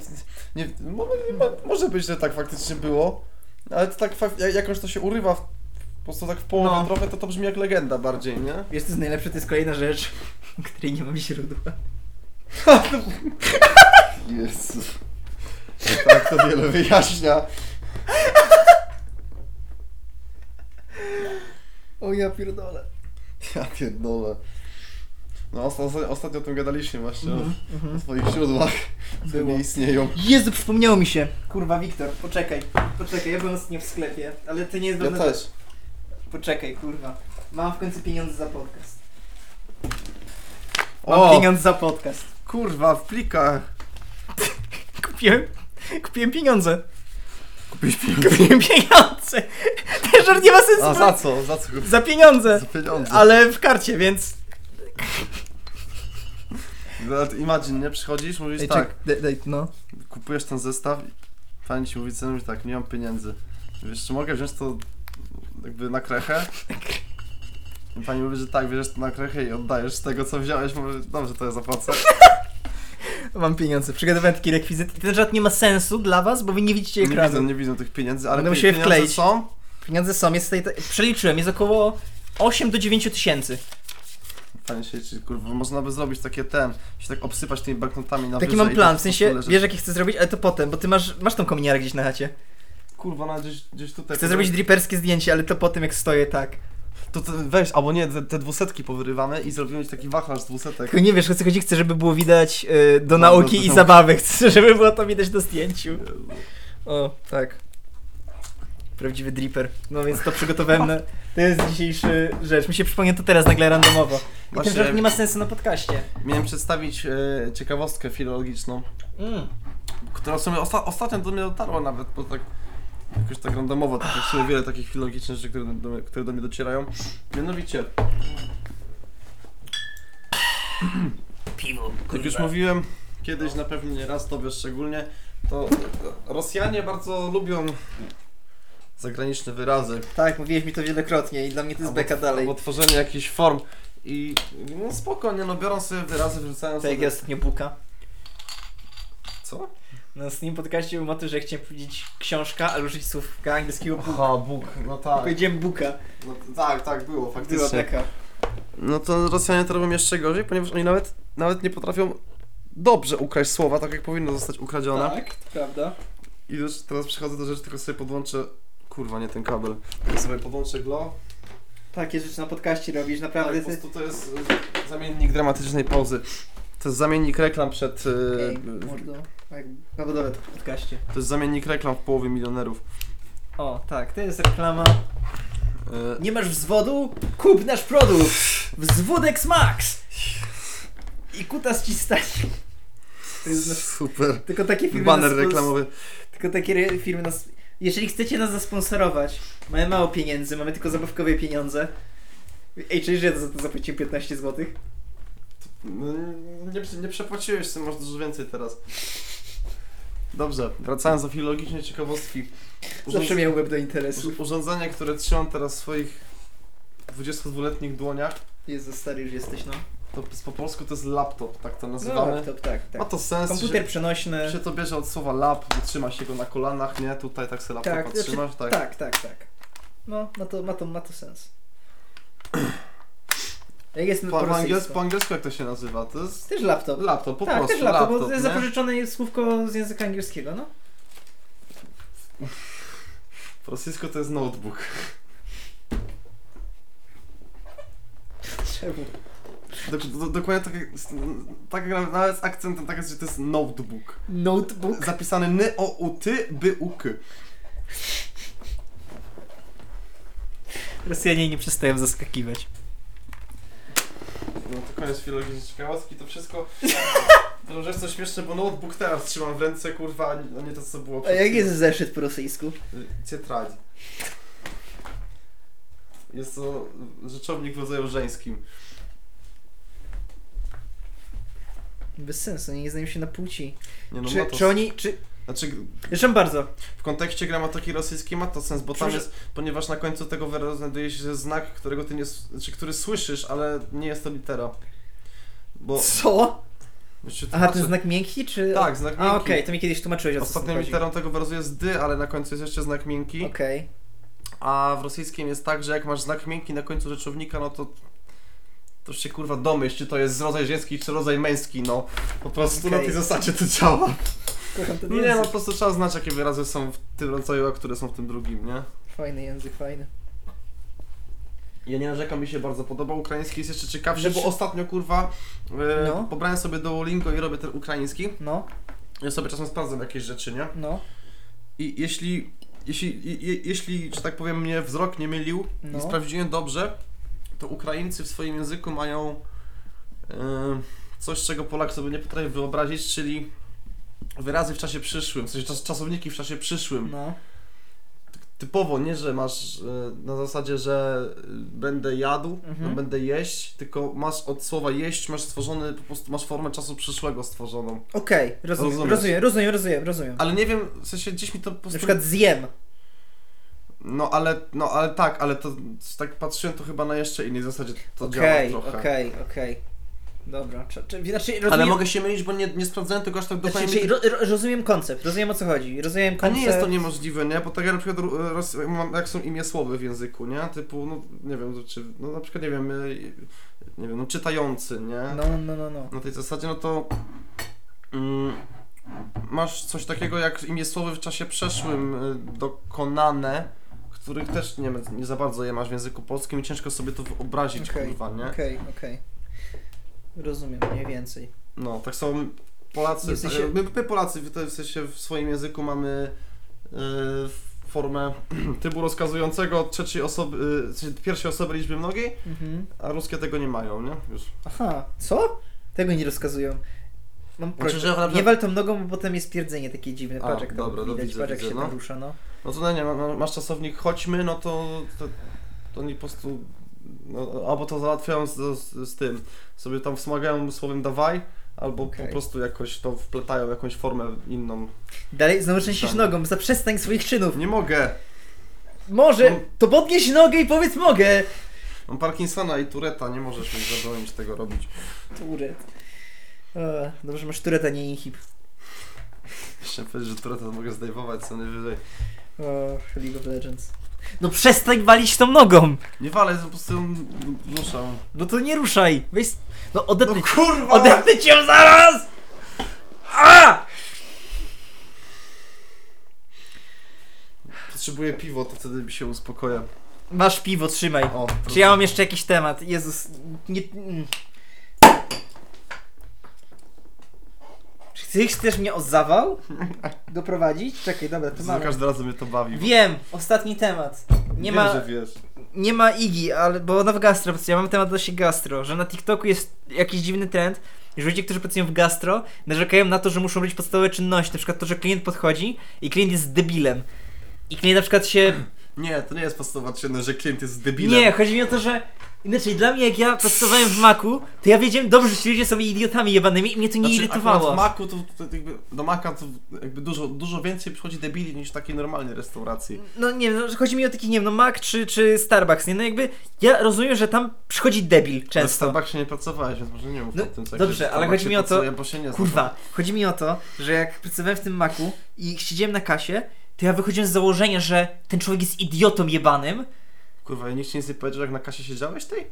Speaker 1: nie, mo- nie ma, może być, że tak faktycznie było, ale to tak fak- ja- jakoś to się urywa w, po prostu tak w połowę
Speaker 2: No.
Speaker 1: trochę, to to brzmi jak legenda bardziej, nie?
Speaker 2: [laughs] Wiesz, co jest najlepsze? To jest kolejna rzecz, [laughs] o której nie mam źródła.
Speaker 1: Jezu. Tak to wiele wyjaśnia.
Speaker 2: O ja pierdolę.
Speaker 1: Ja pierdolę. No ostatnio, ostatnio o tym gadaliśmy właśnie,
Speaker 2: Mhm,
Speaker 1: o,
Speaker 2: mhm.
Speaker 1: o swoich źródłach, które
Speaker 2: Było.
Speaker 1: nie istnieją.
Speaker 2: Jezu, przypomniało mi się. Kurwa, Wiktor, poczekaj. Poczekaj, ja byłem ostatnio w sklepie, ale to nie jest
Speaker 1: Ja
Speaker 2: dobre-
Speaker 1: też.
Speaker 2: Poczekaj, kurwa. Mam w końcu pieniądze za podcast. Mam
Speaker 1: O,
Speaker 2: pieniądz za podcast.
Speaker 1: kurwa, w plikach.
Speaker 2: Kupiłem. Kupiłem pieniądze.
Speaker 1: Kupiłeś
Speaker 2: Kupiłem pieniądze. Ten żart nie ma sensu.
Speaker 1: A za co? Za co?
Speaker 2: Za pieniądze.
Speaker 1: Za pieniądze.
Speaker 2: Ale w karcie, więc.
Speaker 1: Ale... Imagine, nie? Przychodzisz, mówisz tak,
Speaker 2: daj, daj, no.
Speaker 1: kupujesz ten zestaw, pani ci mówi cenę, mówi tak, nie mam pieniędzy. Wiesz, czy mogę wziąć to jakby na krechę? I pani mówi, że tak, bierzesz to na krechę i oddajesz z tego, co wziąłeś, mówię, dobrze, to ja zapłacę.
Speaker 2: Mam pieniądze. Przygotowałem taki rekwizyt. Ten żart nie ma sensu dla was, bo wy nie widzicie
Speaker 1: Nie
Speaker 2: ekranu.
Speaker 1: widzę, nie widzę tych pieniędzy, ale
Speaker 2: Będę
Speaker 1: pie-
Speaker 2: musiał je
Speaker 1: pieniądze
Speaker 2: wkleić.
Speaker 1: są.
Speaker 2: Pieniądze są, jest tutaj. Przeliczyłem, jest około 8 do 9 tysięcy.
Speaker 1: Panie się, czy kurwa, można by zrobić takie ten, się tak obsypać tymi banknotami na
Speaker 2: Taki
Speaker 1: wyżej
Speaker 2: mam
Speaker 1: i
Speaker 2: plan,
Speaker 1: tak
Speaker 2: w
Speaker 1: po prostu
Speaker 2: sensie
Speaker 1: leżeć.
Speaker 2: wiesz jaki chcę zrobić, ale to potem, bo ty masz, masz tą kominiarę gdzieś na chacie.
Speaker 1: Kurwa, no gdzieś, gdzieś tutaj...
Speaker 2: Chcę zrobić driperskie zdjęcie, ale to potem jak stoję tak.
Speaker 1: To, to weź, albo nie, te, te dwusetki powyrywamy i zrobimy taki wachlarz z dwusetek.
Speaker 2: Tylko nie wiesz o co chodzi, chcę żeby było widać y, do
Speaker 1: No,
Speaker 2: nauki
Speaker 1: do- do
Speaker 2: i
Speaker 1: nauki.
Speaker 2: zabawy, [laughs] chcę żeby było to widać na zdjęciu. O, tak. Prawdziwy dripper. No więc to przygotowałem na... To jest dzisiejszy rzecz. Mi się przypomniał to teraz nagle randomowo. I ten
Speaker 1: Właśnie-
Speaker 2: żart nie ma sensu na podcaście.
Speaker 1: Miałem przedstawić e, ciekawostkę filologiczną,
Speaker 2: Mm.
Speaker 1: która w sumie osta- ostatnio do mnie dotarła nawet, bo tak jakoś tak randomowo, tak jak w sumie wiele takich filologicznych rzeczy, które do, które do mnie docierają. Mianowicie,
Speaker 2: Piwo.
Speaker 1: jak już mówiłem kiedyś, na pewno nie raz tobie szczególnie, to Rosjanie bardzo lubią zagraniczne wyrazy.
Speaker 2: Tak, mówiłeś mi to wielokrotnie i dla mnie to jest
Speaker 1: Albo-
Speaker 2: beka dalej.
Speaker 1: Albo tworzenie jakichś form. I no spokojnie, no biorą sobie wyrazy, wrzucają
Speaker 2: Tak jak
Speaker 1: sobie...
Speaker 2: ja ostatnio buka. No,
Speaker 1: Co?
Speaker 2: Na ostatnim podcaście był motyw, że chciałem powiedzieć książka, ale użyć słówka angielskiego buka.
Speaker 1: Aha, Bóg, no tak.
Speaker 2: Powiedziałem buka.
Speaker 1: No, tak, tak, było,
Speaker 2: Była taka.
Speaker 1: No to Rosjanie to robią jeszcze gorzej, ponieważ oni nawet, nawet nie potrafią dobrze ukraść słowa, tak jak powinno zostać ukradzione.
Speaker 2: Tak, to prawda.
Speaker 1: I już teraz przechodzę do rzeczy, tylko sobie podłączę... Kurwa, nie ten kabel. Tylko sobie podłączę glo.
Speaker 2: Takie rzeczy na podcaście robisz,
Speaker 1: Tak,
Speaker 2: naprawdę.
Speaker 1: po
Speaker 2: ty...
Speaker 1: prostu to jest y, zamiennik dramatycznej pauzy. To jest zamiennik reklam przed... y,
Speaker 2: Ej,
Speaker 1: w-
Speaker 2: mordo. Tak, zawodowe to w podcaście.
Speaker 1: To jest zamiennik reklam w połowie milionerów.
Speaker 2: O, tak, to jest reklama.
Speaker 1: Y,
Speaker 2: Nie masz wzwodu? Kup nasz produkt! Wzwódex Max! I kutas ci stać. To jest nasz...
Speaker 1: Y, [laughs] Super.
Speaker 2: Tylko takie firmy nas
Speaker 1: Baner
Speaker 2: spons-
Speaker 1: reklamowy.
Speaker 2: Tylko takie re- firmy nas... Jeżeli chcecie nas zasponsorować, mamy mało pieniędzy, mamy tylko zabawkowe pieniądze. Ej, czyli że ja za to zapłaciłem 15 zł?
Speaker 1: No, Nie, nie przepłaciłeś, ty masz dużo więcej teraz. Dobrze, wracając do filologicznej ciekawostki.
Speaker 2: Zawsze
Speaker 1: Urząd-
Speaker 2: miałem łeb do interesu.
Speaker 1: urz- Urządzenia, które trzymam teraz w swoich 22-letnich dłoniach,
Speaker 2: Jezu, stary już jesteś, no.
Speaker 1: to p- po polsku to jest laptop, tak to
Speaker 2: No,
Speaker 1: nazywamy.
Speaker 2: laptop, tak,
Speaker 1: Ma
Speaker 2: tak.
Speaker 1: to sens,
Speaker 2: Komputer e, przenośny.
Speaker 1: że się to bierze od słowa lap, bo trzyma się go na kolanach, nie? Tutaj tak sobie laptopa
Speaker 2: Tak, znaczy-
Speaker 1: trzymasz, tak.
Speaker 2: Tak, tak, tak. No, ma to, ma to, ma to sens. Jak jest
Speaker 1: Po,
Speaker 2: po
Speaker 1: po, angielsku,
Speaker 2: rosyjsku?
Speaker 1: po angielsku jak to się nazywa? To jest
Speaker 2: Też laptop.
Speaker 1: laptop, po
Speaker 2: tak,
Speaker 1: prostu
Speaker 2: też laptop, bo to
Speaker 1: laptop
Speaker 2: jest
Speaker 1: nie?
Speaker 2: zapożyczone jest słówko z języka angielskiego, no.
Speaker 1: Po rosyjsku to jest notebook.
Speaker 2: Czemu?
Speaker 1: Dok- do, dokładnie tak jak, tak jak nawet z akcentem, tak jest, że to jest notebook.
Speaker 2: Notebook?
Speaker 1: Zapisany n o u ty by u k.
Speaker 2: Rosjanie nie przestają zaskakiwać.
Speaker 1: No to koniec filologii ciekawostki, to
Speaker 2: [laughs]
Speaker 1: wszystko. To że jest to śmieszne, bo notebook teraz trzymam w ręce, kurwa, a nie a nie to co było
Speaker 2: A jak
Speaker 1: chwilą.
Speaker 2: jest zeszyt po rosyjsku?
Speaker 1: Y, Cietrać. Jest to rzeczownik w rodzaju żeńskim.
Speaker 2: Bez sensu, nie znają się na płci.
Speaker 1: Nie no, ma
Speaker 2: czy,
Speaker 1: to
Speaker 2: czy oni, czy...
Speaker 1: Znaczy,
Speaker 2: Przepraszam bardzo.
Speaker 1: w kontekście gramatyki rosyjskiej ma to sens, bo tam
Speaker 2: Przecież-
Speaker 1: jest, ponieważ na końcu tego wyrazu znajduje się znak, którego ty nie, s- znaczy, który słyszysz, ale nie jest to litera. Bo,
Speaker 2: Co?
Speaker 1: znaczy,
Speaker 2: Aha,
Speaker 1: tłumaczę-
Speaker 2: ten znak miękki, czy...
Speaker 1: Tak, znak
Speaker 2: A,
Speaker 1: miękki.
Speaker 2: okej, to mi kiedyś tłumaczyłeś, o co
Speaker 1: Ostatnią
Speaker 2: chodzi.
Speaker 1: literą tego wyrazu jest dy, ale na końcu jest jeszcze znak miękki.
Speaker 2: Okej.
Speaker 1: A w rosyjskim jest tak, że jak masz znak miękki na końcu rzeczownika, no to to już się kurwa domyśl, czy to jest rodzaj żeński, czy rodzaj męski, no. Po prostu na
Speaker 2: Okej.
Speaker 1: tej zasadzie to działa.
Speaker 2: Kocham ten
Speaker 1: Nie, no po
Speaker 2: język.
Speaker 1: prostu trzeba znać, jakie wyrazy są w tym rodzaju, a które są w tym drugim, nie?
Speaker 2: Fajny język, fajny.
Speaker 1: Ja nie narzekam, mi się bardzo podoba. Ukraiński jest jeszcze ciekawszy,
Speaker 2: Rzecz-
Speaker 1: bo ostatnio kurwa e,
Speaker 2: No.
Speaker 1: pobrałem sobie Duolingo i robię ten ukraiński.
Speaker 2: No,
Speaker 1: Ja sobie czasem sprawdzam jakieś rzeczy, nie?
Speaker 2: no,
Speaker 1: I jeśli, jeśli, je, je- jeśli że tak powiem, mnie wzrok nie mylił
Speaker 2: No.
Speaker 1: i sprawdziłem dobrze, to Ukraińcy w swoim języku mają e, coś, czego Polak sobie nie potrafi wyobrazić, czyli wyrazy w czasie przyszłym, w sensie czas, czasowniki w czasie przyszłym.
Speaker 2: no.
Speaker 1: typowo, nie, że masz e, na zasadzie, że e, będę jadł,
Speaker 2: Mhm.
Speaker 1: no, będę jeść, tylko masz od słowa jeść, masz stworzony, po prostu masz formę czasu przyszłego stworzoną.
Speaker 2: Okej, rozumiem,
Speaker 1: Rozumiesz.
Speaker 2: rozumiem, rozumiem, rozumiem, rozumiem.
Speaker 1: Ale nie wiem, w sensie gdzieś mi to po prostu...
Speaker 2: Na przykład zjem.
Speaker 1: No ale, no ale tak, ale to tak patrzyłem to chyba na jeszcze innej zasadzie to
Speaker 2: Okej,
Speaker 1: działa trochę.
Speaker 2: okej, okej. Dobra, czy, czy, znaczy, rozumiem,
Speaker 1: Ale mogę się mylić, bo nie, nie sprawdzałem tego aż tak dokładnie.
Speaker 2: znaczy, czyli ro, ro, rozumiem koncept, rozumiem o co chodzi, rozumiem
Speaker 1: A
Speaker 2: koncept.
Speaker 1: nie jest to niemożliwe, nie? Bo tak jak na przykład ro- roz, mam- jak są imię słowy w języku, nie? Typu, no nie wiem, czy, no na przykład nie wiem, y, nie wiem, no czytający, nie?
Speaker 2: No, no, no, no.
Speaker 1: na tej zasadzie, no to mm, masz coś takiego jak imię słowy w czasie przeszłym y, dokonane, których też nie, nie za bardzo je masz w języku polskim i ciężko sobie to wyobrazić,
Speaker 2: Okej,
Speaker 1: kurwa, No nie?
Speaker 2: Okej, okej. Rozumiem, mniej więcej.
Speaker 1: No, tak samo Polacy, tak
Speaker 2: Nie, w sensie-
Speaker 1: my, my Polacy w, w sensie w swoim języku mamy y, formę [clears throat] trybu rozkazującego od trzeciej osoby, y, w sensie pierwszej osoby liczby mnogiej,
Speaker 2: Mhm.
Speaker 1: a ruskie tego nie mają, nie? Już.
Speaker 2: Aha, co? Tego nie rozkazują. Mam
Speaker 1: Znaczy,
Speaker 2: prośbę,
Speaker 1: że ja naprawdę-
Speaker 2: nie wal tą nogą, bo potem jest pierdzenie takie dziwne,
Speaker 1: A,
Speaker 2: patrz jak to
Speaker 1: dobra, no
Speaker 2: widać,
Speaker 1: widzę,
Speaker 2: patrz jak
Speaker 1: widzę,
Speaker 2: się
Speaker 1: no.
Speaker 2: narusza, no.
Speaker 1: No to no nie, ma- ma- masz czasownik chodźmy, no to, to, to oni po prostu no, albo to załatwiają z, z, z tym, sobie tam wspomagają słowem dawaj, albo
Speaker 2: Okej.
Speaker 1: po prostu jakoś to wpletają, jakąś formę inną.
Speaker 2: Dalej, znowu trzęsiesz
Speaker 1: Dobra.
Speaker 2: nogą, zaprzestań swoich czynów.
Speaker 1: Nie mogę!
Speaker 2: Może,
Speaker 1: No.
Speaker 2: to podnieś nogę i powiedz mogę.
Speaker 1: Mam Parkinsona i Tureta, nie możesz mi zabronić tego robić.
Speaker 2: Turet. E, Dobrze, że masz tureta, nie inhib.
Speaker 1: Chciałem powiedzieć, że Tureta mogę zdejmować co najwyżej.
Speaker 2: O, E, League of Legends. No przestań walić tą nogą!
Speaker 1: Nie walę, po prostu ją ruszam.
Speaker 2: No to nie ruszaj! Weź... No odetnę,
Speaker 1: No kurwa!
Speaker 2: odetnę cię zaraz! A!
Speaker 1: Potrzebuję piwo, to wtedy mi się uspokoję.
Speaker 2: Masz piwo, trzymaj.
Speaker 1: O,
Speaker 2: Czy ja mam jeszcze jakiś temat? Jezus, nie... mm. Czy ty chcesz mnie o
Speaker 1: [laughs]
Speaker 2: zawał doprowadzić? Czekaj, dobra, to
Speaker 1: Za
Speaker 2: mamy.
Speaker 1: każdym razem mnie to bawi.
Speaker 2: Wiem, ostatni temat. Nie
Speaker 1: Wiem,
Speaker 2: ma...
Speaker 1: że wiesz.
Speaker 2: nie ma Igi, ale bo ona w gastro pracuje. Ja mam temat odnośnie gastro, że na TikToku jest jakiś dziwny trend, że ludzie, którzy pracują w gastro, narzekają na to, że muszą robić podstawowe czynności, na przykład to, że klient podchodzi i klient jest debilem. I klient na przykład się...
Speaker 1: Nie, to nie jest podstawowa czynność, że klient jest debilem.
Speaker 2: Nie, chodzi mi o to, że... Inaczej, dla mnie jak ja pracowałem w Macu, to ja wiedziałem dobrze, że ci ludzie są idiotami jebanymi i mnie to nie
Speaker 1: Znaczy, akurat
Speaker 2: irytowało.
Speaker 1: W Macu to, to jakby, do Maca to jakby dużo, dużo więcej przychodzi debili niż w takiej normalnej restauracji.
Speaker 2: No nie wiem, no, chodzi mi o taki, nie wiem, no Mac czy, czy Starbucks, nie? No jakby ja rozumiem, że tam przychodzi debil
Speaker 1: Często. W
Speaker 2: często.
Speaker 1: Starbucksie nie pracowałeś, więc może nie mów
Speaker 2: No,
Speaker 1: o tym, co
Speaker 2: dobrze,
Speaker 1: jak się w
Speaker 2: ale chodzi mi o to-
Speaker 1: pracuje, bo się nie znam.
Speaker 2: Kurwa, chodzi mi o to, że jak pracowałem w tym maku i siedziałem na kasie, to ja wychodziłem z założenia, że ten człowiek jest idiotą jebanym.
Speaker 1: Kurwa, i nikt ci nic nie powiedział, jak na kasie siedziałeś tej?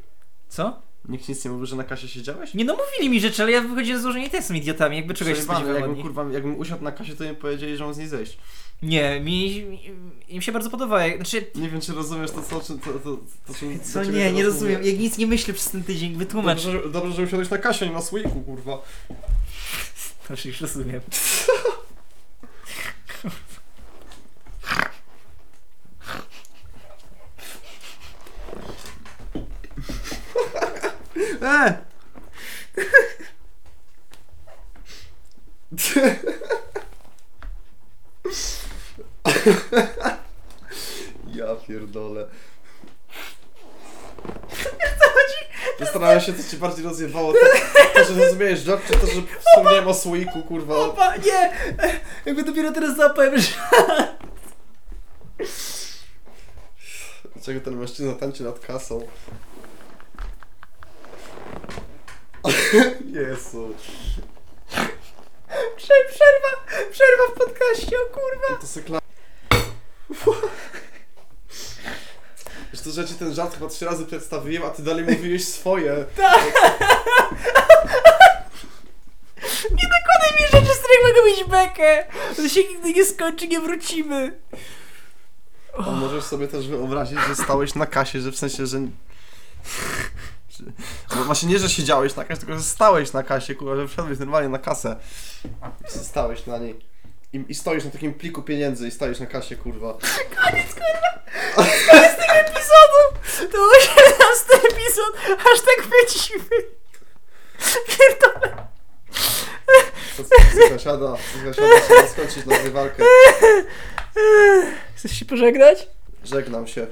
Speaker 2: Co?
Speaker 1: Nikt ci nic nie mówił, że na kasie siedziałeś?
Speaker 2: Nie no mówili mi rzeczy, ale ja wychodziłem z założenia, że są idiotami, jakby czegoś się
Speaker 1: Przejebane,
Speaker 2: spodziewałem od
Speaker 1: jakbym,
Speaker 2: nich.
Speaker 1: kurwa, jakbym usiadł na kasie, to mi powiedzieli, że mam z niej zejść.
Speaker 2: Nie, mi, mi, im się bardzo podoba, jak- znaczy...
Speaker 1: Nie wiem, czy rozumiesz to, co... Czy, to, to, to, czym- do
Speaker 2: Co
Speaker 1: ciebie
Speaker 2: nie,
Speaker 1: to
Speaker 2: nie
Speaker 1: rozumiem.
Speaker 2: rozumiem, jak nic nie myślę przez ten tydzień, wytłumacz.
Speaker 1: Dobrze, że- dobrze, że usiadłeś na kasie, a nie na słoiku, kurwa.
Speaker 2: Znaczy już rozumiem.
Speaker 1: E! Ja
Speaker 2: [laughs]
Speaker 1: pierdolę. Zastanawiam się, co ci bardziej rozjebało. To, to że zrozumiałeś żart, czy to, że wspomniałem o słoiku, kurwa.
Speaker 2: Opa, nie! [laughs] Jakby dopiero teraz zapałem, że...
Speaker 1: Dlaczego ten mężczyzna tańczy nad kasą? [laughs] Jezu.
Speaker 2: Przerwa, przerwa w podcaście, o kurwa!
Speaker 1: To sykla... Zresztą, że ja ci ten żart chyba trzy razy przedstawiłem, a ty dalej mówiłeś swoje.
Speaker 2: Nie dokładaj mi rzeczy, z których mogę mieć bekę! To się nigdy nie skończy, nie wrócimy!
Speaker 1: A możesz sobie też wyobrazić, że stałeś na kasie, że w sensie, że... że- No właśnie nie, że siedziałeś na kasie, tylko że stałeś na kasie, kurwa, że wszedłeś normalnie na kasę. Stałeś na niej. I, I stoisz na takim pliku pieniędzy i stoisz na kasie, kurwa.
Speaker 2: Koniec, kurwa! Koniec tego epizodu! To był 18 epizod, aż tak wyciwy! Pierdolę!
Speaker 1: Zasiada, zasiada, trzeba skończyć nagrywalkę.
Speaker 2: Chcesz się pożegnać?
Speaker 1: Żegnam się.